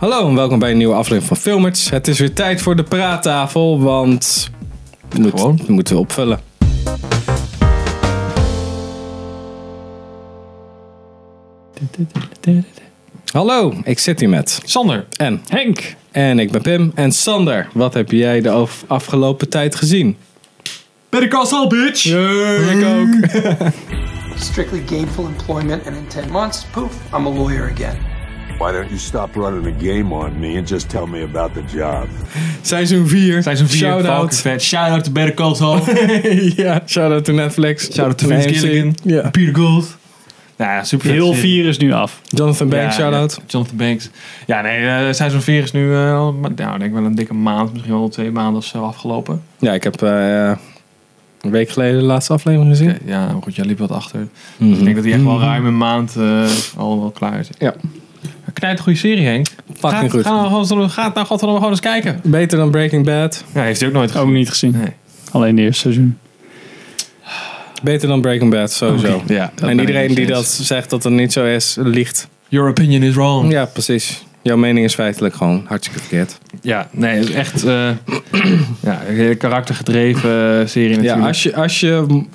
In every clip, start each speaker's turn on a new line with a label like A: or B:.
A: Hallo en welkom bij een nieuwe aflevering van Filmers. Het is weer tijd voor de praattafel, want we moeten-
B: Gewoon.
A: we moeten opvullen. Hallo, ik zit hier met
B: Sander.
A: En.
B: Henk.
A: En ik ben Pim. En Sander, wat heb jij de af- afgelopen tijd gezien?
B: Better call Saul, bitch.
A: ik ook.
C: strictly gainful employment, and in 10 months, poof, I'm a lawyer again.
D: Why don't you stop running a game on me and just tell me about the job?
A: Seizoen 4.
B: Zijn zo'n vier
A: Shout-out.
B: Shout-out. Shout-out to Better Call Saul.
A: ja, shout-out to Netflix.
B: Shout-out to
A: En
B: Vince
A: AMC.
B: Gilligan.
A: Ja.
B: Peter Gould. Nou ja, super
E: Heel vier is nu af.
A: Jonathan Banks, shout-out.
B: Jonathan Banks. Ja, nee, uh, seizoen 4 is nu eh, al, maar, nou, ik denk wel een dikke maand, misschien wel twee maanden of zo afgelopen.
A: Ja, ik heb eh, een week geleden de laatste aflevering gezien.
B: Oké, Ja, maar goed, jij liep wat achter.
A: Mhm.
B: Ik denk dat hij echt wel ruim een maand eh, al wel klaar is.
A: Ja.
B: Knijt een goede serie, Henk.
A: Fucking
B: Ga-
A: goed.
B: Ga nou, godverdomme- ga nou godverdomme gewoon eens kijken.
A: Beter dan Breaking Bad.
B: Ja, heeft hij ook
A: Oh,
B: nooit
E: Ook niet gezien.
B: Nee.
E: Alleen de eerste seizoen.
A: Beter dan Breaking Bad, sowieso.
B: Ja, dat ben
A: En
B: ik
A: iedereen
B: met
A: die
B: je
A: dat
B: eens.
A: zegt dat het niet zo is, liegt.
B: Your opinion is wrong.
A: Ja, precies. Jouw mening is feitelijk gewoon hartstikke verkeerd.
B: Ja, nee, het is echt eh ja, een hele karaktergedreven eh, serie natuurlijk.
A: Ja, als je, als je m-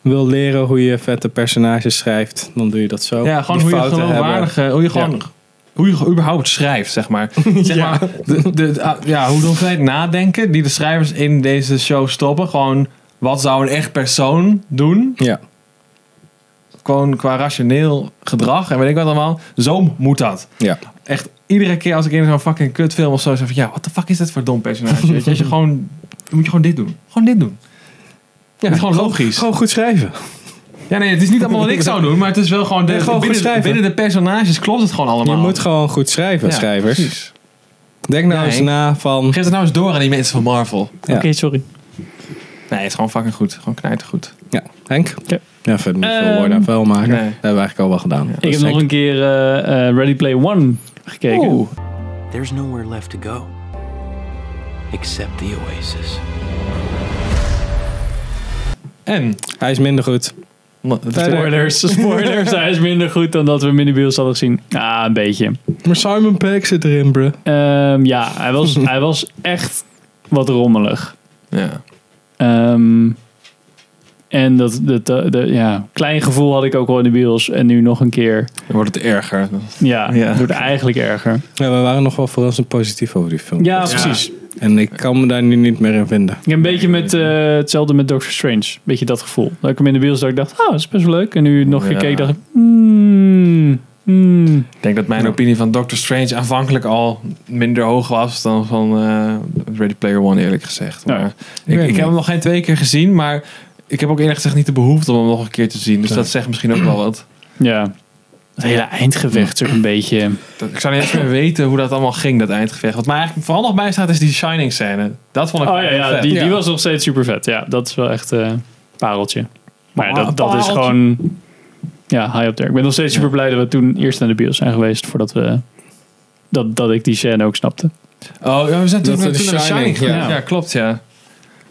A: wil leren hoe je vette personages schrijft, dan doe je dat zo.
B: ja gewoon
A: Die
B: hoe je
A: fouten
B: geloofwaardig, eh, hoe je gewoon... Hoe je überhaupt schrijft, zeg maar. Zeg maar de, de, ah, ja, hoe de hoeveelheid nadenken die de schrijvers in deze show stoppen. Gewoon, wat zou een echt persoon doen?
A: hebben.
B: Gewoon qua rationeel gedrag en weet ik wat allemaal. Zo moet dat.
A: Ja, ja.
B: Echt, iedere keer als ik in zo'n fucking kutfilm of zo zeg van... Ja, wat de fuck is dat voor dom personage? Weet je, als je gewoon... Dan moet je gewoon dit doen. Gewoon dit doen. Ja, gewoon logisch.
A: Gewoon goed schrijven.
B: Ja, nee, het is niet allemaal wat ik zou doen, maar het is wel gewoon... De,
A: Nee, gewoon goed
B: binnen,
A: schrijven.
B: binnen de personages klopt het gewoon allemaal.
A: Je moet gewoon goed schrijven,
B: Ja,
A: schrijvers.
B: precies.
A: Denk nou
B: Ja,
A: eens
B: Henk.
A: na van...
B: Geef het nou eens door aan die mensen van Marvel.
A: Ja.
E: Oké, sorry.
B: Nee, het is gewoon fucking goed. Gewoon knijtergoed.
A: Ja, Henk?
E: Ja.
A: Ja, verder niet veel
E: Ehm,
A: woorden aan vuil maken.
B: nee.
A: Dat hebben we eigenlijk al wel gedaan.
E: ik heb nog een keer eh, eh, Ready Play One gekeken.
B: Oeh.
F: there's nowhere left to go except the oasis.
B: En?
A: Hij is minder goed.
E: Spoilers, spoilers. Hij is minder goed dan dat we hem in de bios hadden gezien. Ah, een beetje.
A: Maar Simon Peck zit erin, bruh.
E: Ehm, ja, hij was, hij was echt wat rommelig.
B: Ja.
E: Ehm, en dat, dat, eh, de- ja, klein gevoel had ik ook al in de bios. En nu nog een keer.
B: Dan wordt het erger.
E: Ja,
B: Ja.
E: het wordt eigenlijk erger.
A: Ja, we waren nog wel verrassend positief over die film.
E: Ja, precies.
A: En ik kan me daar nu niet meer in vinden.
E: Ik heb een beetje met, eh, hetzelfde met Doctor Strange. Beetje dat gevoel. Dat ik hem in de bios dat ik dacht, ah, dat is best wel leuk. En nu nog een
B: Ja.
E: keer keek, dacht ik, hmm, hmm.
B: Ik denk dat mijn opinie van Doctor Strange aanvankelijk al minder hoog was dan van eh, Ready Player One, eerlijk gezegd.
E: Ja.
B: Maar
A: weet
B: ik, ik
A: niet.
B: heb hem nog geen twee keer gezien, maar ik heb ook eerlijk gezegd niet de behoefte om hem nog een keer te zien. Dus dat zegt misschien ook wel wat.
E: Ja. Het hele eindgevecht is ook een beetje...
B: Dat- Ik zou niet eens meer weten hoe dat allemaal ging, dat eindgevecht. Wat mij eigenlijk vooral nog bijstaat is die Shining scène. Dat vond ik
E: Oh ja,
B: wel heel
E: ja
B: vet.
E: die, die was nog steeds super vet. Ja, dat is wel echt eh, een pareltje. Maar ja, dat, dat is
B: Pareltje.
E: gewoon... Ja, high up there. Ik ben nog steeds super blij dat we toen eerst naar de bios zijn geweest. Voordat we... Dat, dat ik die scène ook snapte.
B: Oh, ja, we zijn toen,
A: Dat
B: toen
A: de
B: naar de
A: Shining,
B: Shining gegaan.
A: ja.
B: Ja. klopt, ja.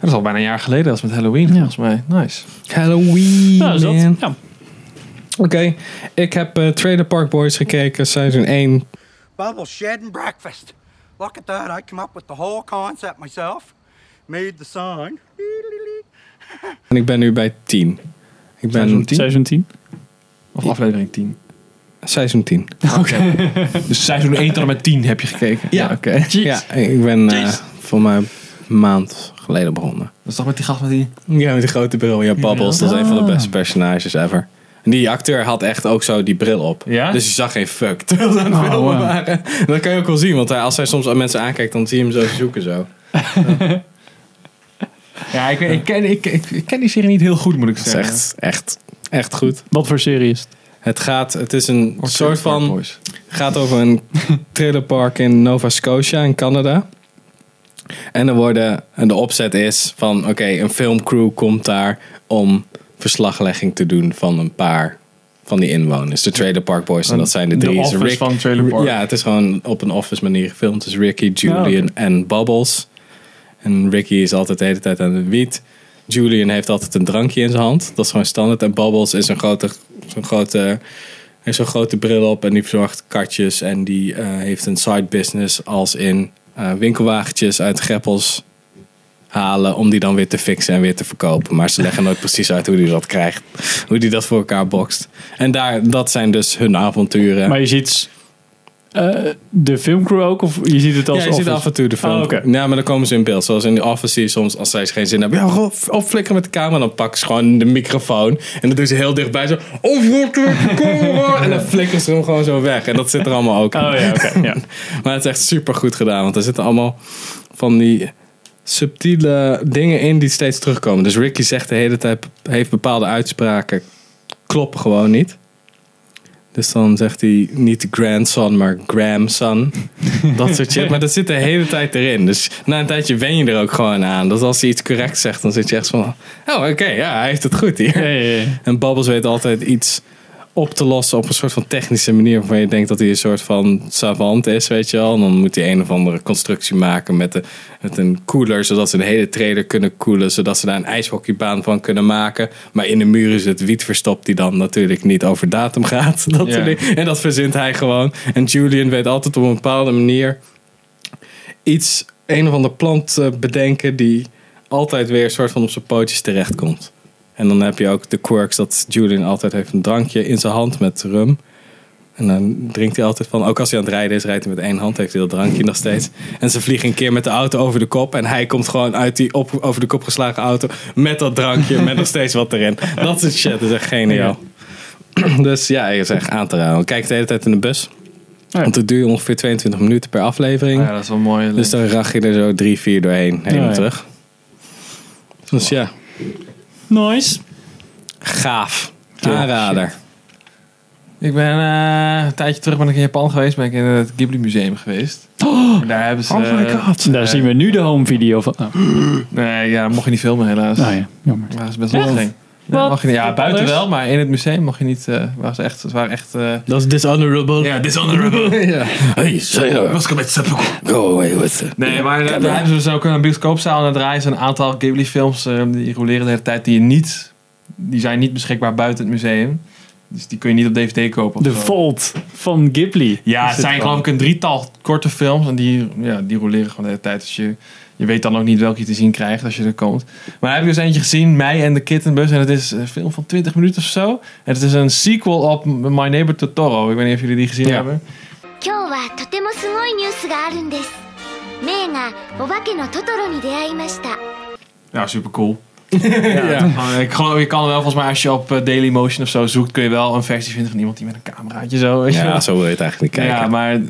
B: Dat is al bijna een jaar geleden, dat was met Halloween volgens mij. Nice.
A: Halloween,
E: Nou, is dat?
A: man.
E: Ja.
A: Oké, ik heb eh, Trailer Park Boys gekeken, seizoen 1.
G: bubble shed and breakfast. Look at that. I come up with the whole concept myself. Made the song.
A: En ik ben nu bij 10. Ik ben
B: Seizoen 10?
E: Seizoen 10.
B: Of aflevering 10.
A: Seizoen 10.
B: Dus seizoen 1 tot en met 10 heb je gekeken. Ja, oké.
A: Ja, ik ben eh voor mij een maand geleden begonnen.
B: Dat is toch met die gast met die...
A: Ja, met die grote bril. Ja, Bubbles, dat is een van de beste personages ever. En die acteur had echt ook zo die bril op.
B: Ja?
A: Dus je zag geen fuck terwijl ze aan het filmen
E: wow.
A: waren. En dat kan je ook wel zien, want hij, als hij soms aan mensen aankijkt, dan zie je hem zo zoeken zo.
B: Ja, ik, weet- ik, ken, ik, ik, ik ken die serie niet heel goed, moet ik
A: Dat is
B: zeggen.
A: echt, echt, echt goed.
E: Wat voor serie is het?
A: Het gaat, het is een
B: Wordt
A: soort
B: Trailer Park
A: van,
B: Boys.
A: gaat over een trailerpark in Nova Scotia in Canada. En er worden, en de opzet is van, oké, een filmcrew komt daar om verslaglegging te doen van een paar van die inwoners. De Trailer Park Boys, en dat zijn de
B: De
A: drie. is
B: office
A: Rick-
B: van Trailer Park.
A: Ja, het is gewoon op een office manier gefilmd. Dus Ricky, Julian
E: Ja, oké.
A: en Bubbles. En Ricky is altijd de hele tijd aan de wiet. Julian heeft altijd een drankje in zijn hand. Dat is gewoon standaard. En Bubbles is een grote, zo'n grote heeft zo'n grote bril op en die verzorgt kartjes. En die eh, heeft een side business als in eh, winkelwagentjes uit greppels halen. Om die dan weer te fixen en weer te verkopen. Maar ze leggen nooit precies uit hoe die dat krijgt. Hoe die dat voor elkaar bokst. En daar, dat zijn dus hun avonturen.
E: Maar je ziet eh, de filmcrew ook, of je ziet het als
A: ja, je ziet
E: office?
A: af en toe de film.
E: Ah, oké.
A: Ja, maar dan komen ze in beeld. Zoals in de office zie je soms, als zij geen zin hebben. Ja, gewoon opflikkeren met de camera. Dan pakken ze gewoon de microfoon. En dan doen ze heel dichtbij zo. Of wordt er camera?" En dan flikkeren ze hem gewoon zo weg. En dat zit er allemaal ook in.
E: Oh ja, oké. ja.
A: Maar het is echt super goed gedaan. Want er zitten allemaal van die subtiele dingen in die steeds terugkomen. Dus Ricky zegt de hele tijd, heeft bepaalde uitspraken, kloppen gewoon niet. Dus dan zegt hij niet grandson, maar grandson. Dat soort shit. Maar dat zit de hele tijd erin. Dus na een tijdje wen je er ook gewoon aan. Dat als hij iets correct zegt, dan zit je echt van... Oh, oké, ja, hij heeft het goed hier.
E: Ja, ja, ja.
A: En Bubbles weet altijd iets op te lossen op een soort van technische manier waarvan je denkt dat hij een soort van savant is, weet je wel. En dan moet hij een of andere constructie maken met, de, met een koeler, zodat ze de hele trailer kunnen koelen, zodat ze daar een ijshockeybaan van kunnen maken. Maar in de muren zit wiet verstopt die dan natuurlijk niet over datum gaat. Dat
B: Ja.
A: soort dingen. En dat verzint hij gewoon. En Julian weet altijd op een bepaalde manier iets, een of ander plant eh, bedenken die altijd weer een soort van op zijn pootjes terechtkomt. En dan heb je ook de quirks dat Julian altijd heeft een drankje in zijn hand met rum. En dan drinkt hij altijd van, ook als hij aan het rijden is, rijdt hij met één hand, heeft hij dat drankje nog steeds. En ze vliegen een keer met de auto over de kop en hij komt gewoon uit die op, over de kop geslagen auto met dat drankje, met nog steeds wat erin. Dat is shit, dat is echt geniaal. Dus ja, het is echt aan te raden. Kijk de hele tijd in de bus.
E: Ja.
A: Want het duurt ongeveer 22 minuten per aflevering.
B: Ah ja, dat is wel mooi.
A: Dus dan rach je er zo drie, vier doorheen. Heen
E: Ja,
A: en
E: ja.
A: terug. Dus ja,
E: Nice.
A: gaaf. Aanrader.
B: Ik ben eh, een tijdje terug ben ik in Japan geweest. Ben ik in het Ghibli Museum geweest. En daar hebben ze...
E: Oh my god. Daar zien we nu de home video van. Oh, nou
B: Nee, ja, mocht je niet filmen helaas.
E: ja, jammer.
B: Ja, dat is best
E: Echt?
B: wel streng. Ja,
E: Wat?
B: mag je niet, ja, buiten
E: Anders?
B: wel, maar in het museum mag je niet. eh was echt, het waren echt. eh
A: Dat is dishonorable.
B: dishonorable. ja.
A: Hey, say her.
B: Was met
A: Go away with it.
B: Nee, maar daar, daar hebben ze dus ook een bioscoopzaal en daar draaien ze een aantal Ghibli-films eh, die roleren de hele tijd die je niet, die zijn niet beschikbaar buiten het museum, dus die kun je niet op DVD kopen. of
E: De
B: zo.
E: Vault van Ghibli.
B: Ja,
E: Is
B: het
E: het
B: zijn
E: gewoon.
B: geloof ik een drietal korte films. En die, ja, die roleren gewoon de hele tijd. Dus je, je weet dan ook niet welke je te zien krijgt als je er komt. Maar daar heb ik dus eentje gezien, Mij en de Kittenbus. En het is een film van 20 minuten of zo. En het is een sequel op My Neighbor Totoro. Ik weet niet of jullie die gezien
A: Ja.
B: hebben.
H: 今日はとてもすごいニュースがあるんですメイがお化けのトトロに出会いました
B: Ja, super cool. Ik geloof, je kan wel volgens mij als je op eh, Dailymotion of zo zoekt, kun je wel een versie vinden van iemand die met een cameraatje zo. weet je wel.
A: Ja, zo wil je het eigenlijk niet kijken.
B: ja, maar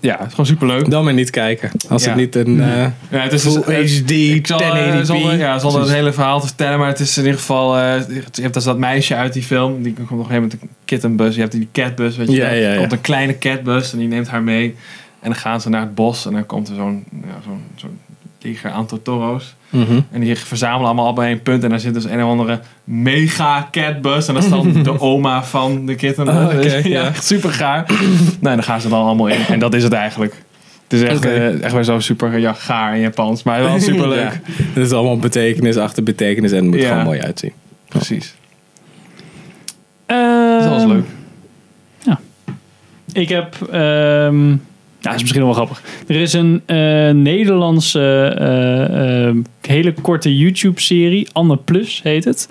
B: ja, het is gewoon super leuk.
A: Dan maar niet kijken. Als
B: Ja.
A: het niet een... eh,
B: Ja, het is
A: Full
B: het-
A: HD,
B: ik zal, eh,
A: 1080p.
B: Zonder, ja, zonder het hele verhaal te vertellen, maar het is in ieder geval. eh, je hebt dus dat meisje uit die film, die komt op een gegeven moment een kittenbus. Je hebt die catbus, weet je.
A: Ja,
B: wel.
A: ja,
B: Er
A: ja.
B: komt een kleine catbus en die neemt haar mee. En dan gaan ze naar het bos en dan komt er zo'n ja, zo'n zo'n leger aan Totoro's.
A: mhm.
B: En die verzamelen allemaal bij één punt. En daar zit dus een of andere mega catbus. En dat is dan de oma van de kitten.
E: Ah,
A: Oh, oké, ja.
B: ja, echt super gaar. nou, en dan gaan ze dan allemaal in. En dat is het eigenlijk. Het is echt,
A: Oké.
B: eh, echt weer zo super ja, gaar in Japans. Maar wel super leuk.
A: Ja. Er is allemaal betekenis achter betekenis en het moet
B: Ja.
A: gewoon mooi uitzien.
B: Precies.
E: Ehm,
B: Dus dat was leuk.
E: Ik heb. ehm ja, dat is misschien wel grappig. Er is een eh, Nederlandse eh, eh, hele korte YouTube-serie. Anne Plus heet het.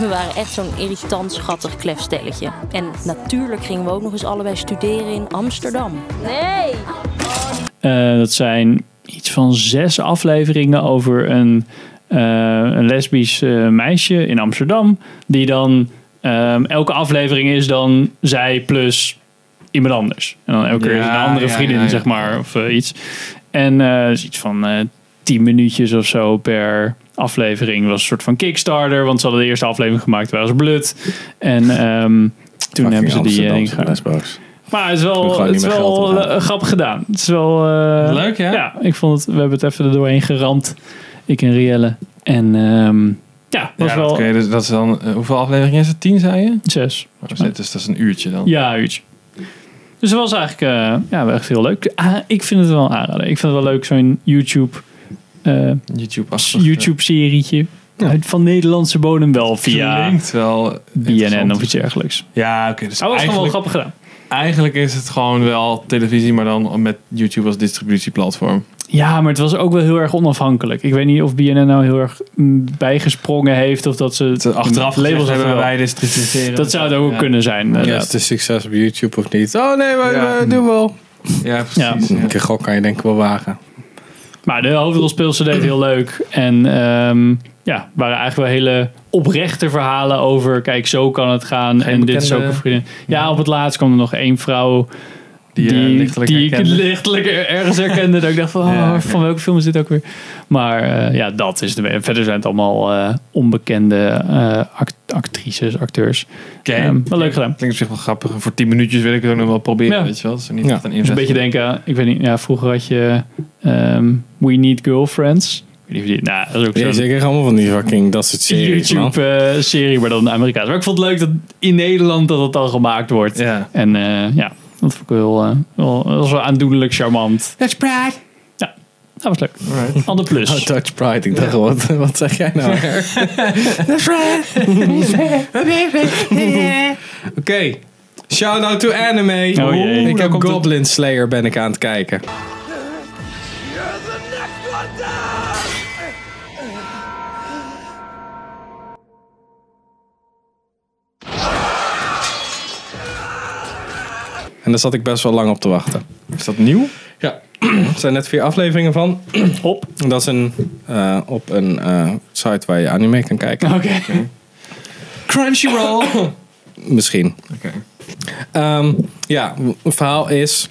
I: We waren echt zo'n irritant, schattig klefstelletje. En natuurlijk gingen we ook nog eens allebei studeren in Amsterdam. Nee!
E: Eh, dat zijn iets van zes afleveringen over een, eh, een lesbisch eh, meisje in Amsterdam. Die dan. ehm, elke aflevering is dan zij plus iemand anders. En dan elke keer is het een
B: Ja,
E: andere
B: ja,
E: vriendin,
B: ja, ja.
E: zeg maar, of eh, iets. En eh, is iets van eh 10 minuutjes of zo per aflevering. Was een soort van Kickstarter, want ze hadden de eerste aflevering gemaakt, waren ze blut. En ehm, toen hebben ze die. eh, ingegaan. Maar het is
A: Toen
E: wel,
A: gewoon
E: het
A: niet
E: is
A: meer geld
E: wel
A: omgaan.
E: eh, grappig gedaan. Het is wel... eh,
B: Leuk, hè?
E: Ja, ik vond het... We hebben het even er doorheen geramd. Ik en Rielle. En ehm, ja, was
B: Ja, dat,
E: wel
B: kun je dus- dat is dan, eh, hoeveel afleveringen is het? Tien, zei je?
E: zes.
B: Dus dat is een uurtje dan.
E: Ja, uurtje. Dus het was eigenlijk eh, ja, wel echt heel leuk. Ah, ik vind het wel een aanrader. Ik vind het wel leuk, zo'n YouTube, eh,
B: YouTube-achtig.
E: YouTube-serietje. van Nederlandse bodem wel via
B: klinkt wel
E: BNN
B: interessant.
E: of iets dergelijks.
B: Ja, oké. dus
E: Hij was gewoon wel
B: eigenlijk,
E: grappig gedaan.
B: eigenlijk is het gewoon wel televisie, maar dan met YouTube als distributieplatform.
E: Ja, maar het was ook wel heel erg onafhankelijk. Ik weet niet of BNN nou heel erg mm, bijgesprongen heeft of dat ze het
B: Te- Achteraf labels
E: hebben
B: hebben
E: wel.
B: wij distributeren.
E: Dat zou het ook
B: Ja.
E: kunnen zijn. eh,
A: Ja,
E: inderdaad.
A: is het is succes op YouTube of niet? Oh nee, we,
B: Ja.
A: we doen wel.
B: Ja, precies.
A: Een
B: ja.
A: keer gok kan je denk ik wel wagen.
E: Maar de hoofdrolspeelster deed heel leuk. En ehm, ja, waren eigenlijk wel hele oprechte verhalen over... kijk, zo kan het gaan. en dit is ook
B: bekende-
E: een vriendin. Ja, op het laatst kwam er nog één vrouw...
B: Die, eh, lichtelijk
E: die ik
B: herkende.
E: lichtelijk er- ergens herkende. dat ik dacht van, oh,
B: Ja,
E: van welke film is dit ook weer? Maar eh, ja, dat is de... Verder zijn het allemaal eh, onbekende eh, act- actrices, acteurs.
B: Oké.
E: Ehm, wel leuk gedaan.
B: Klinkt op zich wel grappig. Voor 10 minuutjes wil ik het ook nog wel proberen.
E: Ja.
B: Weet je wel? Dat is niet
A: Ja.
B: echt een
E: Dus
B: investering.
E: een beetje denken, aan- ik weet niet, ja, vroeger had je ehm, We Need Girlfriends. Ik weet niet of je die- nou, dat is ook
A: Ja,
E: zo'n
A: zeker allemaal van die fucking dat soort series, man.
E: YouTube-serie, eh, maar dan Amerikaans. Maar ik vond het leuk dat in Nederland dat het al gemaakt wordt.
B: Ja.
E: En eh, ja, dat vond ik wel, eh, wel, dat was wel aandoenlijk charmant.
B: That's pride.
E: Ja, dat was leuk. Ander plus.
A: Oh, Dutch Pride. Ik dacht, wat, wat zeg jij nou? Oké. Shout out to anime.
E: Oh, jee.
A: ik
E: Daar
A: heb
E: komt het.
A: Goblin Slayer ben ik aan het kijken. En daar zat ik best wel lang op te wachten.
B: Is dat nieuw?
A: Ja, er zijn net vier afleveringen van.
E: Hop.
A: Dat is een, eh, op een eh, site waar je anime kan kijken.
E: Oké.
A: Crunchyroll. Misschien. Ehm, ja, het verhaal is...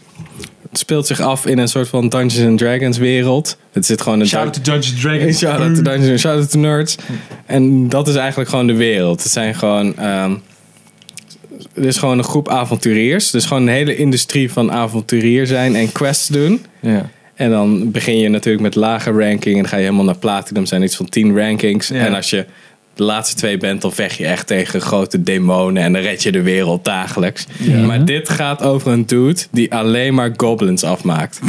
A: Het speelt zich af in een soort van Dungeons and Dragons wereld. Het zit gewoon... Een
B: Shout-out to Dungeons and Dragons. Mm.
A: Shout out to Dungeons, shout out to nerds. En dat is eigenlijk gewoon de wereld. Het zijn gewoon. ehm, er is gewoon een groep avonturiers. Dus gewoon een hele industrie van avonturier zijn en quests doen.
B: Ja.
A: En dan begin je natuurlijk met lage ranking. En dan ga je helemaal naar platinum. zijn iets van 10 rankings.
B: Ja.
A: En als je de laatste twee bent, dan vecht je echt tegen grote demonen. En dan red je de wereld dagelijks. Maar dit gaat over een dude die alleen maar goblins afmaakt.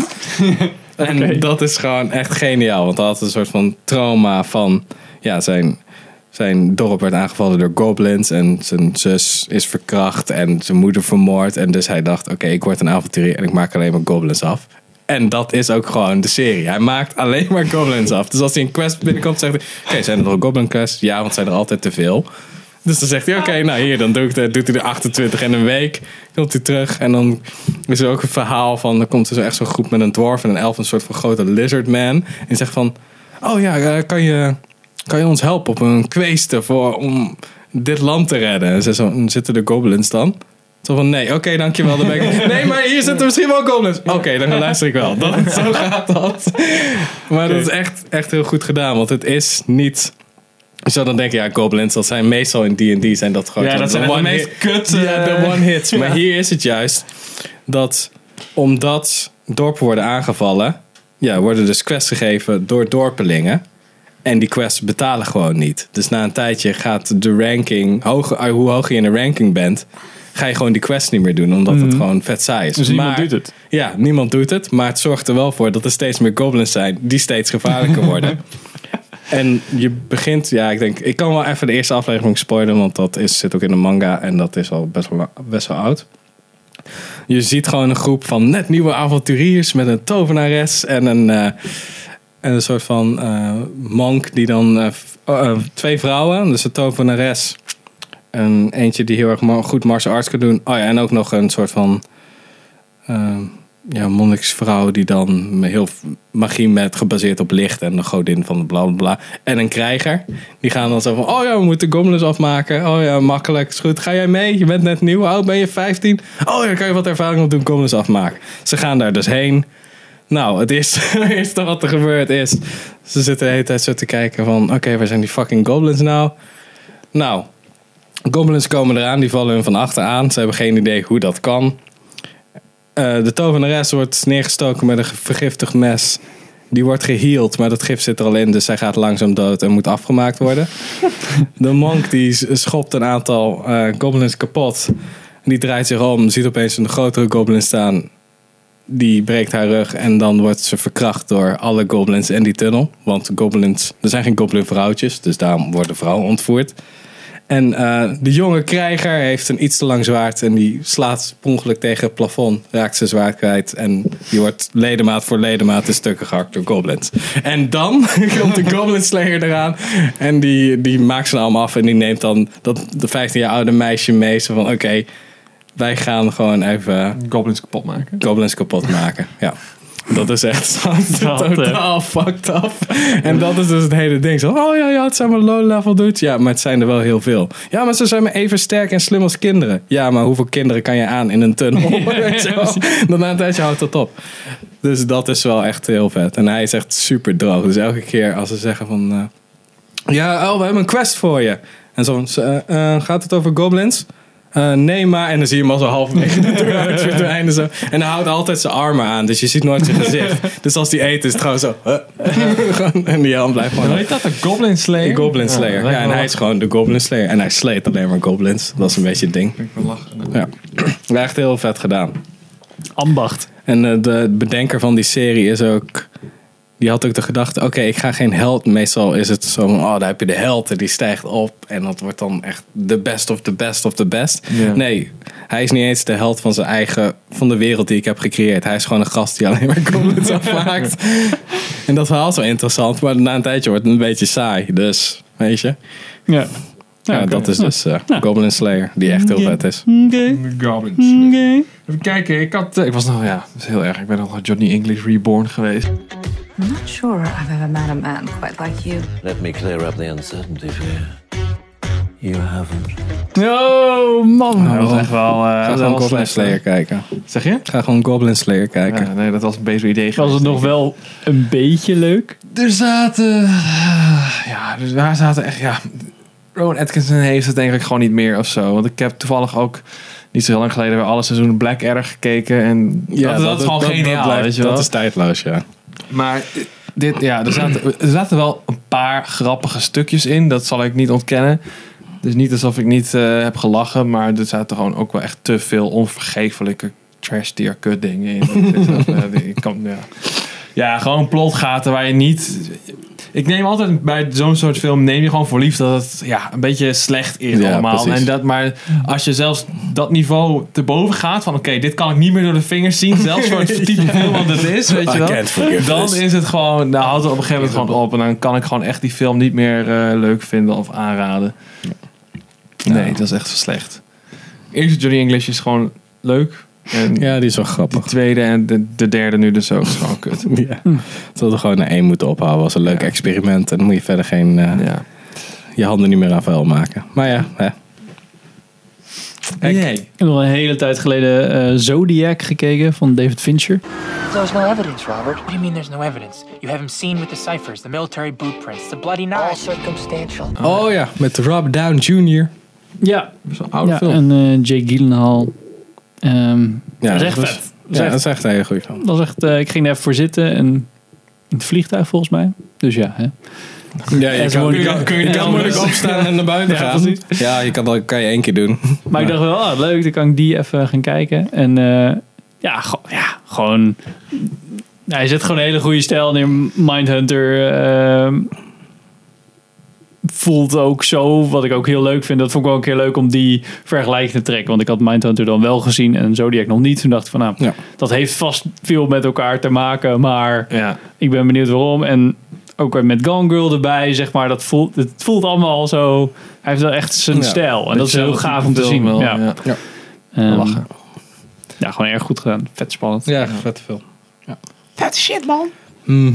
A: en dat is gewoon echt geniaal. Want hij had een soort van trauma van... Ja, zijn, zijn dorp werd aangevallen door goblins. En zijn zus is verkracht. En zijn moeder vermoord. En dus hij dacht, oké, ik word een avonturier. En ik maak alleen maar goblins af. En dat is ook gewoon de serie. Hij maakt alleen maar goblins af. Dus als hij een quest binnenkomt, zegt hij... Oké, zijn er nog goblin quests? Ja, want zijn er altijd te veel. Dus dan zegt hij, oké, nou hier, dan doe ik dat. doet hij er 28 in een week. Komt hij terug en dan is er ook een verhaal van... Dan komt er zo echt zo'n groep met een dwarf en een elf, een soort van grote lizard man. En die zegt van, oh ja, eh, kan je, kan je ons helpen op een kweeste voor, om dit land te redden? En ze zo, "En zitten de goblins dan? Zo van, nee, oké, dankjewel. Dan ben ik... Nee, maar hier zitten misschien wel goblins. Oké, dan luister ik wel. Dat, zo gaat dat. Maar dat is echt, echt heel goed gedaan, want het is niet... Je zou dan denken, ja, goblins, dat zijn meestal in D&D zijn dat gewoon...
B: Ja,
A: de
B: dat zijn echt de
A: one
B: meest
A: hit-
B: kut,
A: Ja, de
B: eh,
A: one hits. Maar hier is het juist dat omdat dorpen worden aangevallen... Ja, worden dus quests gegeven door dorpelingen. En die quests betalen gewoon niet. Dus na een tijdje gaat de ranking... Hoger, eh, hoe hoger je in de ranking bent... ga je gewoon die quests niet meer doen. Omdat het gewoon vet saai is.
E: Dus niemand doet het.
A: Ja, niemand doet het. Maar het zorgt er wel voor dat er steeds meer goblins zijn... die steeds gevaarlijker worden. En je begint, ja, ik denk, ik kan wel even de eerste aflevering spoilen, want dat is, zit ook in de manga en dat is al best wel, la- best wel oud. Je ziet gewoon een groep van net nieuwe avonturiers met een tovenares en een, eh, en een soort van eh, monk die dan eh, v- oh, eh, twee vrouwen, dus een tovenares en eentje die heel erg ma- goed martial arts kan doen. Oh ja, en ook nog een soort van eh, ja, monniksvrouw die dan heel v- magie met gebaseerd op licht en de godin van de bla bla bla. En een krijger. Die gaan dan zo van: Oh ja, we moeten goblins afmaken. Oh ja, makkelijk. Is goed. Ga jij mee? Je bent net nieuw. Hoe oud ben je? 15. Oh ja, kan je wat ervaring op doen? Goblins afmaken. Ze gaan daar dus heen. Nou, het eerste, het eerste wat er gebeurd is. Ze zitten de hele tijd zo te kijken van... Oké, waar zijn die fucking goblins nou? Nou, goblins komen eraan. Die vallen hun van achter aan. Ze hebben geen idee hoe dat kan. Eh, de tovenares wordt neergestoken met een ge- vergiftigd mes. Die wordt geheeld, maar dat gif zit er al in. Dus zij gaat langzaam dood en moet afgemaakt worden. De monk die s- schopt een aantal eh, goblins kapot. Die draait zich om, ziet opeens een grotere goblin staan die breekt haar rug en dan wordt ze verkracht door alle goblins en die tunnel. Want goblins, er zijn geen goblin vrouwtjes, dus daarom worden vrouwen ontvoerd. En eh, de jonge krijger heeft een iets te lang zwaard en die slaat per ongeluk tegen het plafond, raakt zijn zwaard kwijt en die wordt ledemaat voor ledemaat in stukken gehakt door goblins. En dan komt de goblin slayer eraan en die, die maakt zijn arm af en die neemt dan dat de 15 jaar oude meisje mee. Zo van oké, wij gaan gewoon even
B: Goblins kapot maken.
A: goblins kapot maken. Ja. Dat is echt zo
E: Dat, eh.
A: totaal fucked up. En dat is dus het hele ding. Zo, oh ja, ja, het zijn maar low-level dudes. Ja, maar het zijn er wel heel veel. Ja, maar ze zijn maar even sterk en slim als kinderen. Ja, maar hoeveel kinderen kan je aan in een tunnel? Weet je wel? Dan na een tijdje houdt dat op. Dus dat is wel echt heel vet. En hij is echt super droog. Dus elke keer als ze zeggen van... eh, ja, oh, we hebben een quest voor je. En zo, eh, eh, gaat het over goblins? Eh, nee, maar. En dan zie je hem al zo halverwege de deur uit verdwijnen. Zo. En hij houdt altijd zijn armen aan, dus je ziet nooit zijn gezicht. dus als die eet, is het gewoon zo. eh, gewoon- en die helm blijft gewoon.
B: Hoe heet dat? De Goblin Slayer?
A: De Goblin Slayer. Ja, en hij is gewoon de Goblin Slayer. En hij sleet alleen maar goblins. Dat is een beetje het ding. Ja. Echt heel vet gedaan.
E: Ambacht.
A: En eh, de bedenker van die serie is ook. Die had ook de gedachte: oké, ik ga geen held. Meestal is het zo: van, oh, daar heb je de held en die stijgt op. En dat wordt dan echt de best of the best of the best.
B: Ja.
A: Nee, hij is niet eens de held van zijn eigen. van de wereld die ik heb gecreëerd. Hij is gewoon een gast die alleen maar comments afmaakt. En dat verhaal is wel interessant, maar na een tijdje wordt het een beetje saai. Dus, weet je.
E: Ja.
A: Ja,
E: oké.
A: dat is
E: Ja.
A: dus eh, Goblin Slayer, die echt heel vet is.
E: Oké.
B: De Goblin Slayer.
E: Oké.
B: Even kijken, ik had... eh, Ik was nog... Ja, dat is heel erg. Ik ben nog Johnny English Reborn geweest.
J: Not sure I've ever met a man quite like you.
F: Let me clear up the uncertainty for you. You haven't.
E: Oh, man.
B: Dat was echt wel... eh,
A: Ga
B: dat
A: gewoon
B: was
A: Goblin
B: slecht,
A: Slayer
B: hè?
A: kijken.
B: Zeg je?
A: Ga gewoon Goblin Slayer kijken.
B: Ja, nee, dat was een beter idee.
E: Was het nog wel een beetje leuk?
B: Er zaten... Ja, dus waar zaten echt... Ja, Rowan Atkinson heeft het denk ik gewoon niet meer of zo. Want ik heb toevallig ook niet zo heel lang geleden weer alle seizoenen Black Erg gekeken. En dat, dat, is gewoon geniaal,
A: dat blijft-
B: weet je wel.
A: Dat is tijdloos, ja.
B: Maar dit, ja, er zaten, er zaten wel een paar grappige stukjes in. Dat zal ik niet ontkennen. Dus niet alsof ik niet eh, heb gelachen. Maar er zaten gewoon ook wel echt te veel onvergeeflijke trash tier kut dingen in. Dat is echt, eh, ik kan, ja. ja, gewoon plotgaten waar je niet... Ik neem altijd bij zo'n soort film, neem je gewoon voor lief dat het ja, een beetje slecht is
A: Ja,
B: allemaal.
A: precies.
B: En dat, maar als je zelfs dat niveau te boven gaat, van oké, dit kan ik niet meer door de vingers zien, zelfs voor het type film wat het is, weet je wel
A: Dus-
B: dan is het gewoon, nou houdt het op een gegeven moment gewoon op. En dan kan ik gewoon echt die film niet meer eh, leuk vinden of aanraden. Nee, dat is echt slecht. Eerste Johnny English is gewoon leuk. En
A: Ja, die is wel
B: de
A: grappig.
B: tweede en de, de derde nu dus ook is gewoon kut. Hm.
A: Ja. Dat we gewoon naar één moeten ophouden als een leuk
B: Ja.
A: experiment. En dan moet je verder geen, eh,
B: Ja.
A: je handen niet meer aan vuil maken. Maar ja, hè.
B: Nee.
E: Ik heb nog een hele tijd geleden eh, Zodiac gekeken van David Fincher.
J: There's no evidence, Robert.
F: What do you mean there's no evidence? You haven't seen with the ciphers, the military boot prints, the bloody
J: All
F: knife.
J: circumstantial.
A: Oh ja, met Rob Down Jr.
E: Ja,
B: Dat is een oude
E: ja
B: film.
E: en eh Jake Gyllenhaal. Ehm,
A: Ja,
E: dat is echt
A: dat is-
E: vet. Dat is
A: Ja,
E: echt-
A: dat is echt een hele goede film.
E: dat is echt, eh, ik ging daar even voor zitten en in het vliegtuig volgens mij. Dus ja, hè.
A: Ja, je
E: As one goes-
A: je
E: Ja,
A: moeilijk
E: precies.
A: opstaan en naar buiten
E: Ja,
A: gaan.
E: precies.
A: Ja, je kan dat kan je één keer doen.
E: Maar ik dacht wel, ah, leuk, dan kan ik die even gaan kijken. En eh, ja, go- ja, gewoon... Nou, hij zet gewoon een hele goede stijl neer. Mindhunter ehm, voelt ook zo, wat ik ook heel leuk vind. Dat vond ik wel een keer leuk om die vergelijking te trekken. Want ik had Mindhunter dan wel gezien en Zodiac nog niet. Toen dacht ik van, nou,
A: Ja.
E: dat heeft vast veel met elkaar te maken. Maar
B: Ja.
E: ik ben benieuwd waarom. En ook weer met Gone Girl erbij, zeg maar. Dat voelt, het voelt allemaal zo... Hij heeft wel echt zijn
A: Ja,
E: stijl. En dat is heel
B: Zelfde
E: gaaf om te
B: film
E: zien.
B: wel,
E: ja.
B: ja.
E: Ehm,
B: Lachen.
E: Ja, gewoon erg goed gedaan. Vet spannend.
A: Ja, vet film.
B: Zijn nog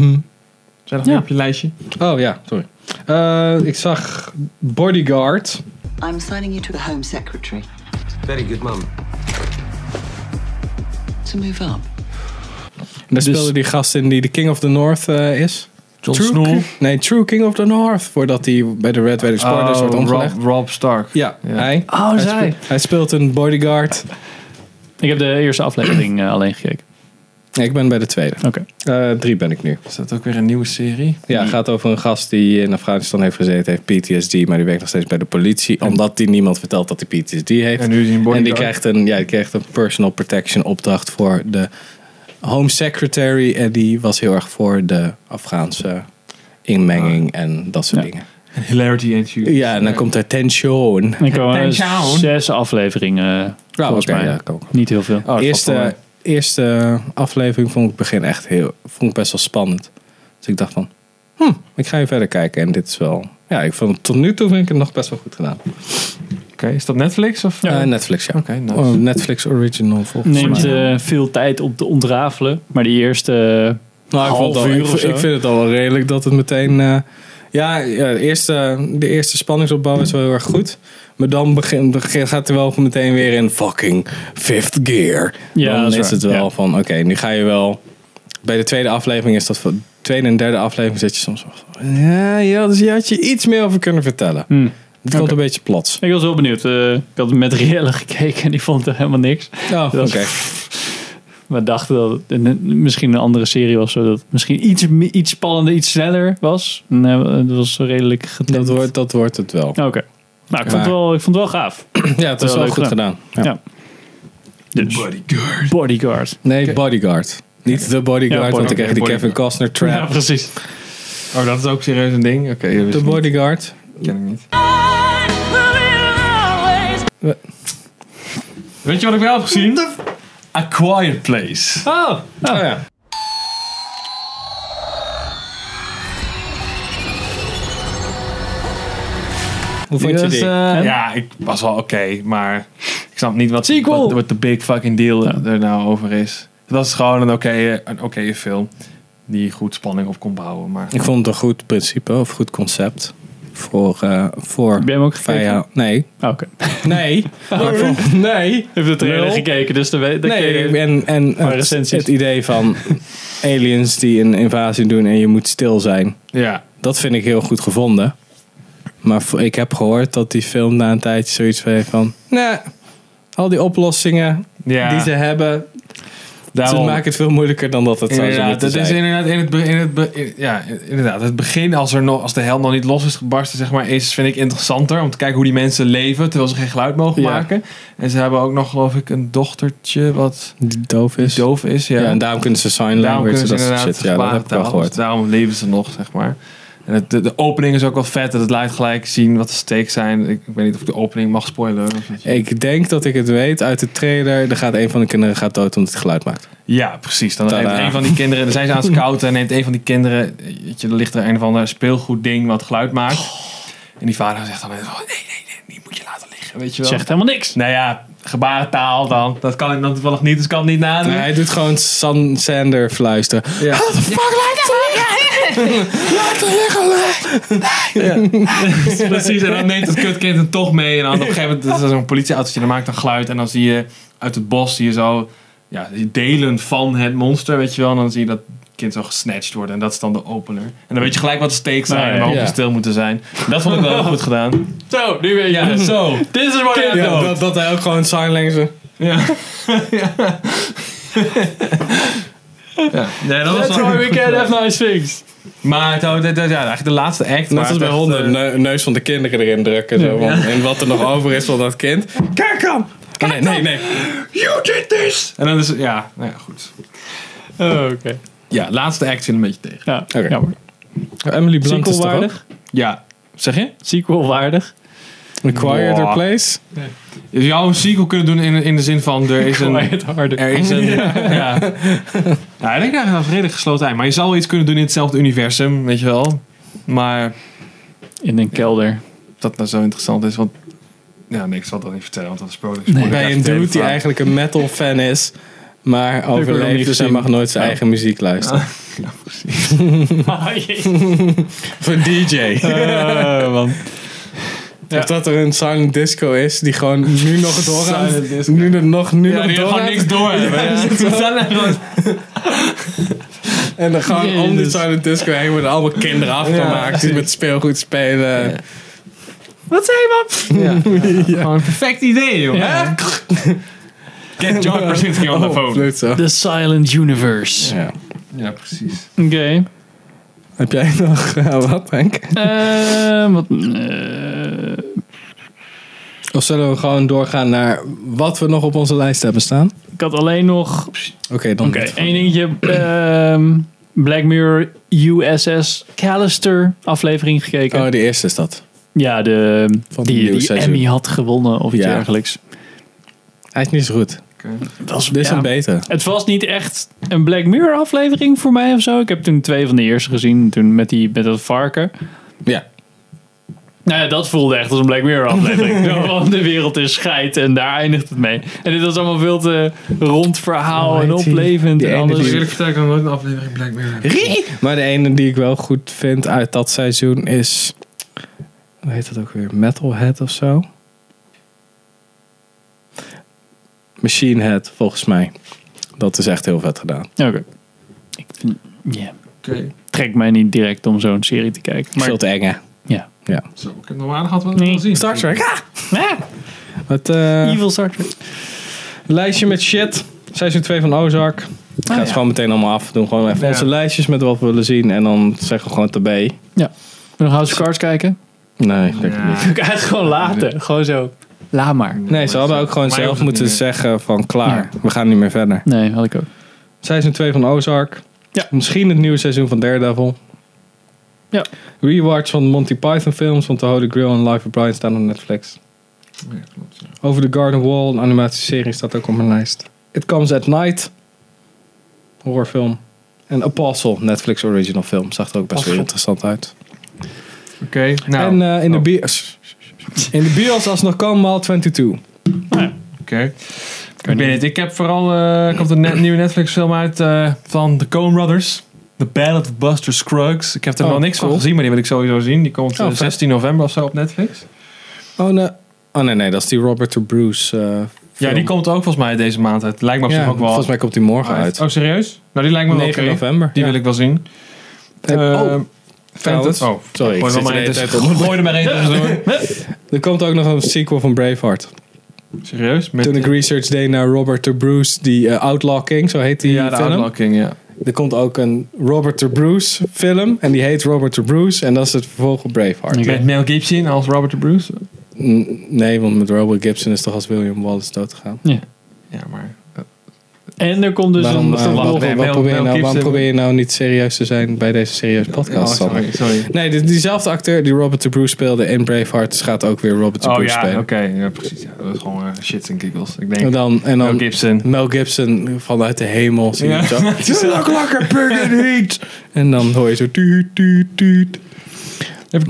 E: Ja.
B: meer op je lijstje?
A: Oh ja, sorry. Eh, ik zag Bodyguard.
J: I'm assigning you to the Home Secretary
F: Very good, Mum.
J: to move up.
A: Daar speelde die gast in die de King of the North eh, is.
B: John
A: True
B: Snoel.
A: Ki- Nee, True King of the North. Voordat hij bij de Red Wedding Spoilers wordt omgelegd.
B: Oh, Rob, Rob Stark.
A: Oh, Ja, hij.
E: Oh,
A: hij Speelt, hij speelt een bodyguard.
E: Ik heb de eerste aflevering eh, alleen gekeken.
A: Nee, ik ben bij de tweede.
E: Oké.
A: Eh, drie ben ik nu.
B: Is dat ook weer een nieuwe serie?
A: Ja, het gaat over een gast die in Afghanistan heeft gezeten, heeft PTSD, maar die werkt nog steeds bij de politie, omdat die niemand vertelt dat hij PTSD heeft.
B: En nu is hij een bodyguard.
A: En die krijgt een, ja, die krijgt een personal protection opdracht voor de Home Secretary, eh, die was heel erg voor de Afghaanse inmenging
B: Ah.
A: en dat soort dingen.
B: Hilarity and you.
A: Ja, en dan komt er tension.
E: Ik komen
B: Town.
E: zes afleveringen. eh, volgens
A: oké,
E: mij.
A: ja, kan ook. Oh,
E: Niet heel veel.
A: eerste, eerste aflevering vond ik het begin echt heel, vond ik best wel spannend. Dus ik dacht van, hm, ik ga even verder kijken. En dit is wel, ja, ik vond het tot nu toe vind ik het nog best wel goed gedaan.
B: Oké, is dat Netflix? Of,
A: Eh,
B: eh,
A: Netflix, ja.
B: Oké, nice.
A: Oh, Netflix original volgens
E: Neemt
A: mij.
E: eh, veel tijd om te ontrafelen. Maar die eerste eh,
A: Nou, ik, vond het
E: half
A: al-
E: uur
A: ik,
E: of zo.
A: ik vind het al wel redelijk dat het meteen. eh, ja, ja de, eerste, de eerste spanningsopbouw is wel heel erg goed. Maar dan begin, begin- gaat hij wel meteen weer in fucking fifth gear.
E: Ja,
A: dan
E: dat is
A: is
E: waar,
A: het wel
E: ja.
A: van oké, nu ga je wel. Bij de tweede aflevering is dat van. Tweede en derde aflevering zit je soms wel van, Ja, ja, dus je had je iets meer over kunnen vertellen.
E: Hmm.
A: Het komt een beetje plots.
E: Ik was wel benieuwd. eh, ik had met Rielle gekeken en die vond er helemaal niks.
A: Oh, oké.
E: Dat- We dachten dat het een- misschien een andere serie was. Zodat het misschien iets, me- iets spannender, iets sneller was. Nee, het was redelijk
A: Dat,
E: getend.
A: wordt, dat wordt het wel.
E: Oké. Nou, ik vond,
A: Maar-
E: het wel, ik vond het wel gaaf.
A: Ja, het is
E: Wel
A: wel
E: leuk
A: goed
E: gedaan.
A: gedaan. Ja.
E: Ja. Dus. Bodyguard. Bodyguard.
A: Nee, Bodyguard. Niet de Bodyguard,
E: Ja,
A: want dan
E: Bodyguard.
A: krijg je die Kevin Costner trap.
E: Ja, precies.
B: Oh, dat is ook serieus een ding? Oké, dat wist
A: De
B: ik niet.
A: Bodyguard.
B: ken ik niet. Weet je wat ik wel heb gezien? A Quiet Place.
A: Oh, oh ja. Hoe vond je
B: Dus,
A: die?
B: eh, ja, ik was wel oké, maar ik snap niet wat,
E: Sequel!
B: wat, wat de big fucking deal er nou over is. Het was gewoon een oké een oké film die goed spanning op kon bouwen. Maar
A: ik vond het een goed principe of goed concept. Voor, eh voor
E: je hem ook gekeken?
A: vijand- Nee.
E: Ah, Oké.
A: Nee. Maar ik vond- nee.
E: Heeft de trailer
A: Nul.
E: gekeken, dus dan weet dan kun je-
A: Nee, en, en
E: Maar
A: het,
E: recensies.
A: het idee van aliens die een invasie doen en je moet stil zijn.
B: ja,
A: Dat vind ik heel goed gevonden. Maar vo- ik heb gehoord dat die film na een tijdje zoiets heeft van... Nee, al die oplossingen
B: ja
A: die ze hebben... Ze
B: daarom-
A: maken het veel moeilijker dan dat het zou zijn.
B: Inderdaad, dat is inderdaad in het, be- in het, be- in- ja, inderdaad. Het begin, als, er nog, als de hel nog niet los is gebarsten, zeg maar, is, vind ik interessanter. Om te kijken hoe die mensen leven terwijl ze geen geluid mogen
A: Ja.
B: maken. En ze hebben ook nog, geloof ik, een dochtertje wat
A: Die doof is.
B: doof is. Ja,
A: Ja, en daarom kunnen ze sign
B: daarom
A: language
B: kunnen
A: en
B: ze
A: dat soort
B: inderdaad
A: shit. Ja, dat heb ik wel
B: gebarentaal, dus
A: gehoord.
B: daarom leven ze nog, zeg maar. En het, de, de opening is ook wel vet. Dat het laat gelijk zien wat de stakes zijn. Ik, ik weet niet of ik de opening mag spoileren. Of niet.
A: Ik denk dat ik het weet uit de trailer. Er gaat een van de kinderen gaat dood omdat het geluid maakt.
B: Ja, precies. Dan
A: Tadaa.
B: neemt een van die kinderen, dan zijn ze aan het scouten en neemt een van die kinderen, weet je, er ligt er een of ander speelgoedding wat geluid maakt. En die vader zegt dan, net, oh, nee, nee, nee, die moet je laten liggen, weet je wel.
E: Zegt helemaal niks.
B: Nou ja, gebarentaal dan. Dat kan ik dan toevallig niet, dus ik kan het niet nadoen.
A: Maar hij doet gewoon San Sander fluisteren.
B: Ja. Precies, en dan neemt het kutkind hem toch mee. En dan op een gegeven moment is er zo'n politieautootje, dan maakt dan geluid. En dan zie je uit het bos, zie je zo ja, die delen van het monster, weet je wel. En dan zie je dat kind zo gesnatcht worden. En dat is dan de opener. En dan weet je gelijk wat de stakes zijn
E: Nou ja,
B: en waarom
A: ja.
B: ze stil moeten zijn. Dat vond ik wel goed gedaan.
E: Zo, Nou, nu weer.
B: Ja, zo.
E: Dit is wat ik
A: Ja, dat, dat hij ook gewoon sign language...
B: Ja. ja. ja. Nee, dat was
E: That's why
B: wel...
E: we can't have nice things.
B: Maar het, het- het- ja, eigenlijk de laatste act.
A: Net
B: waar
A: als
B: het
A: bij
B: echt, eh,
A: honden, ne- neus van de kinderen erin drukken. Zo, want- En wat er nog over is van dat kind. Kijk dan! nee, nee, nee.
B: You did this! En dan is het, ja, nou ja, goed.
E: Oh, Oké.
B: Ja, laatste act viel een beetje tegen.
E: Ja,
A: Oké.
E: jammer.
A: Emily Blunt is toch ook?
E: Sequel-waardig.
B: Ja, zeg je?
E: Sequel-waardig.
A: A Quieter
B: Wow.
A: Place?
B: Je zou een sequel kunnen doen in, in de zin van er is een...
E: Quiet harder.
B: Er is een... ja. ja. ik denk eigenlijk dat het redelijk gesloten eind. Maar je zou wel iets kunnen doen in hetzelfde universum, weet je wel. Maar
E: In een kelder.
B: of dat nou zo interessant is, want... Ja, nee, ik zal dat niet vertellen, want dat is product.
A: Bij een dude die eigenlijk een metal fan is. Maar
E: nog niet
A: overleeft dus hij
E: gezien.
A: mag nooit zijn
E: Ja.
A: eigen muziek luisteren.
B: Oh,
A: Of een DJ.
B: Eh,
A: Of dat er een silent disco is die gewoon nu nog
B: Silent
A: doorgaat.
B: disco.
A: Nu er nog, nu
B: Ja,
A: nog
B: die gewoon
A: doorgaat.
B: niks door hebben. Ja,
A: En dan gewoon om die silent disco heen worden allemaal kinderen afgemaakt. Die met speelgoed spelen. Oh,
B: Wat zei je, man? Gewoon een perfect idee, joh. Hè? Oh. Get John Krasinski on the phone.
A: Leuk zo.
E: The Silent Universe.
A: Ja.
B: Ja, precies.
E: Oké.
A: Heb jij nog eh, wat, Henk?
E: Eh, wat, eh,
A: Of zullen we gewoon doorgaan naar wat we nog op onze lijst hebben staan?
E: Ik had alleen nog
A: Oké, dan.
E: Oké, één dingetje. ehm, Black Mirror USS Callister aflevering gekeken.
A: Oh, de eerste is dat.
E: ja, de,
A: Van het
E: die,
A: nieuwe
E: die
A: seizoen.
E: Emmy had gewonnen of iets
A: Ja.
E: dergelijks.
A: Hij is niet zo goed.
E: Dat
A: Dit is
E: ja.
A: een beter.
E: Het was niet echt een Black Mirror aflevering voor mij of zo. Ik heb toen twee van de eerste gezien, toen met, die, met dat varken.
A: Ja.
E: Nou ja, dat voelde echt als een Black Mirror aflevering. Zo van, de wereld is scheid en daar eindigt het mee. En dit was allemaal veel te rond verhaal
A: Oh,
E: en
A: heet die-
E: oplevend.
A: die
E: en
A: ene
E: alles.
A: die-
B: Eerlijk vertel ik nog nooit een aflevering Black Mirror.
A: Maar de ene die ik wel goed vind uit dat seizoen is. Hoe heet dat ook weer? Metalhead of zo? Machine Head, volgens mij. Dat is echt heel vet gedaan.
E: Oké. Ik vind- ja.
B: Oké,
E: Trek mij niet direct om zo'n serie te kijken. Maar
A: Veel te eng, hè?
E: Ja.
A: ja.
B: zo. Ik heb nog aardig gehad wat ik
E: Nee.
B: wil zien.
A: Star Trek.
E: Ah,
A: Het eh,
E: Evil Star Trek.
A: lijstje met shit. Seizoen 2 van Ozark. Gaat
E: ja.
A: gewoon meteen allemaal af. We doen gewoon even
B: Ah, Ja.
A: onze lijstjes met wat we willen zien. En dan zeggen we gewoon te B.
E: Nog House of Cards kijken?
A: Nee, denk ik
B: Ja.
A: niet.
E: Ik kan het gewoon laten. Gewoon zo. Laat maar.
A: Nee, ze hadden ook gewoon
B: Maar je
A: zelf
B: hoeft het
A: moeten
B: niet meer.
A: zeggen van klaar. We gaan niet meer verder.
E: Nee, had ik ook.
A: Seizoen 2 van Ozark.
E: Ja.
A: Misschien het nieuwe seizoen van Daredevil.
E: Ja.
A: Rewatch van de Monty Python films, want The Holy Grail en Life of Brian staan op Netflix.
B: Ja, klopt, ja.
A: Over The Garden Wall, een animatieserie, staat ook op mijn lijst. It Comes at Night, horrorfilm. En Apostle, Netflix original film, zag er ook best wel
E: Apostle.
A: interessant uit.
B: Oké, nou.
A: en eh, in, de
B: oh,
A: bios, in de bios, als het nog kan, maal 22.
B: Oké. Ik weet het, ik heb vooral, eh, er komt een net- nieuwe Netflix film uit eh, van de Coen Brothers. The Ballad of Buster Scruggs. Ik heb er
A: Oh,
B: nog niks
A: cool.
B: van gezien, maar die wil ik sowieso zien. Die komt eh,
A: Oh, vet.
B: 16 november of zo op Netflix.
A: Oh, nee. oh nee, nee, dat is die Robert de Bruce eh,
B: Ja,
A: film.
B: die komt ook volgens mij deze maand uit. Lijkt me op
A: Ja,
B: zich ook wel.
A: Volgens mij komt die morgen uit.
B: Oh, serieus? Nou, die lijkt me wel
A: 9
B: oké.
A: november.
B: Die
A: ja.
B: wil ik wel zien.
A: oh,
B: Ehm,
A: trouwens.
B: Oh,
A: Sorry, ik
B: gooi er
A: zit
B: maar
A: de
B: één
A: hele
B: tussen-
A: tijd op.
B: Gooi er maar één tussendoor.
A: Er komt ook nog een sequel van Braveheart.
B: Serieus? Met
A: Toen ik research deed naar Robert de Bruce, die eh, Outlaw King, zo heet die
B: ja, de
A: film.
B: Outlaw King, ja.
A: Er komt ook een Robert de Bruce film en die heet Robert de Bruce en dat is het vervolg op Braveheart.
B: Met Mel Gibson als Robert de Bruce.
A: N- nee, want met Robert Gibson is toch als William Wallace doodgegaan.
B: Ja, maar...
E: En er komt dus
A: waarom,
E: een
A: eh,
E: vervolg.
A: waarom-
B: nee,
A: waarom
B: Mel-
A: probeer je nou,
B: Mel
A: waarom
B: Gibson-
A: probeer je nou niet serieus te zijn bij deze serieuze podcast?
B: Oh,
A: Sander?
B: sorry, sorry.
A: nee, die- diezelfde acteur die Robert de Bruce speelde in Braveheart dus gaat ook weer Robert de
B: Oh
A: Bruce
B: ja, oké.
A: spelen.
B: Ja, precies. Ja, dat is gewoon eh, shits en giggles. Ik
A: En
B: denk...
A: dan, en dan
B: Mel Gibson.
A: Mel Gibson vanuit de hemel zie je
B: Ja.
A: hem zo. Het is ook lekker burger heat. En dan hoor je zo tuut, tuut, tuut.
B: Even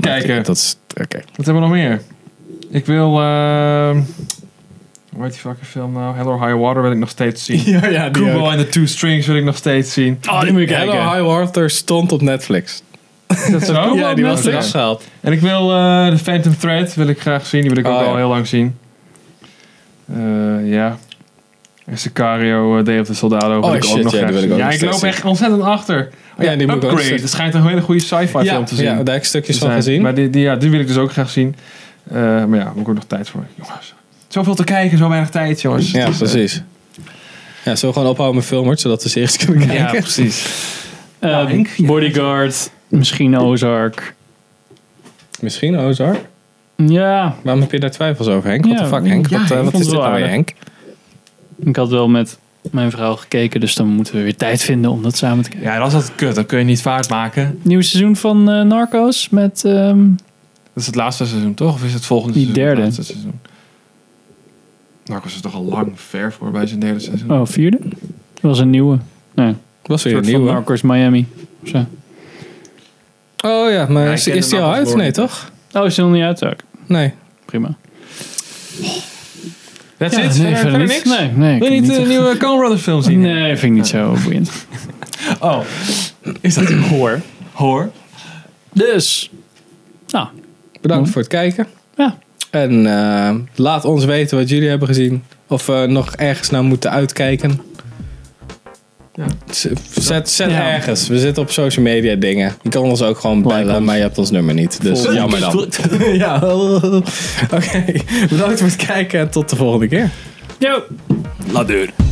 A: Maar
B: kijken.
A: Dat is, oké.
B: Wat hebben we nog meer? Ik wil... ehm hoe heet die fucking film nou? Hell or High Water wil ik nog steeds zien.
A: Ja, ja,
B: Kubo and the Two Strings wil ik nog steeds zien.
E: Oh, die moet je
A: Hello,
E: kijken.
A: High Water stond op Netflix.
B: Is dat zo?
A: ja, die was
B: Oké.
A: eraf gehaald.
B: En ik wil eh, de Phantom Thread wil ik graag zien. Die wil ik ook
A: Ah,
B: al
A: ja.
B: heel lang zien. Eh, ja. En Sicario, eh, Day of the Soldado wil
A: Oh,
B: ik ook
A: shit,
B: nog
A: ja, die
B: graag
A: wil ik
B: zien.
A: ook
B: ja,
A: nog
B: ik
A: steeds
B: loop
A: zien.
B: echt ontzettend achter. Oh,
A: Ja, die moet ik ook
B: Upgrade.
A: steeds-
B: Dat schijnt een hele goede sci-fi film te zijn.
A: ja, daar heb ik stukjes
B: Te
A: van
B: zijn.
A: gezien.
B: Maar die, die, ja, die wil ik dus ook graag zien. Eh, maar ja, daar heb ik ook nog tijd voor. Jongens, zoveel te kijken, zo weinig tijd, jongens.
A: ja,
B: Het is, eh,
A: precies. Ja, zo gewoon ophouden met filmers, zodat we ze eerst kunnen kijken.
B: Ja, precies.
E: Ehm,
B: Ja, Henk, ja.
E: Bodyguard. Misschien Ozark.
A: Misschien Ozark.
E: Ja,
A: Waarom heb je daar twijfels over, Henk? What
E: Ja,
A: the fuck, Henk?
E: ja,
A: wat, eh,
E: ik
A: wat
E: vond
A: is
E: het
A: dit
E: wel
A: nou weer,
E: aardig.
A: Henk?
E: ik had wel met mijn vrouw gekeken. Dus dan moeten we weer tijd vinden om dat samen te kijken.
B: Ja, dat is altijd kut. Dan kun je niet vaart maken.
E: Nieuw seizoen van eh, Narcos met... ehm,
B: Dat is het laatste seizoen, toch? Of is het volgende
E: Die
B: seizoen?
E: derde.
B: Het laatste seizoen. Nou, Narcos is toch al lang ver voor bij zijn derde seizoen.
E: oh, vierde? Dat was een nieuwe.
A: Was
E: Nee, een
A: weer een
E: soort van
A: nieuwe.
E: Narcos Miami. Of zo.
A: Oh ja, maar
B: Ja, ik
A: is,
B: ken
A: is
B: de
A: die al
B: naam
A: uit? Nee,
B: verloren.
A: toch?
E: Oh, is die nog niet uit? Oké,
A: Nee.
E: Prima.
B: That's
E: Ja,
B: it?
E: nee,
B: verder, verder niks?
E: Nee, nee. ik
B: Wil je
E: heb
B: niet
E: niet-
B: de nieuwe Coen Brothers film zien? Ah.
E: Nee, vind ik niet zo boeiend.
B: Oh. Is dat hoor? Hoor.
E: Dus, nou,
A: Bedankt voor het kijken.
E: Ja.
A: En eh, laat ons weten wat jullie hebben gezien. Of we nog ergens naar moeten uitkijken.
B: Ja.
A: Z- Zet, zet
E: Ja.
A: ergens. We zitten op social media dingen. Je kan ons ook gewoon bellen, maar je hebt ons nummer niet. Dus jammer dan. ja. Oké, bedankt voor het kijken en tot de volgende keer.
E: yo!
A: La deur.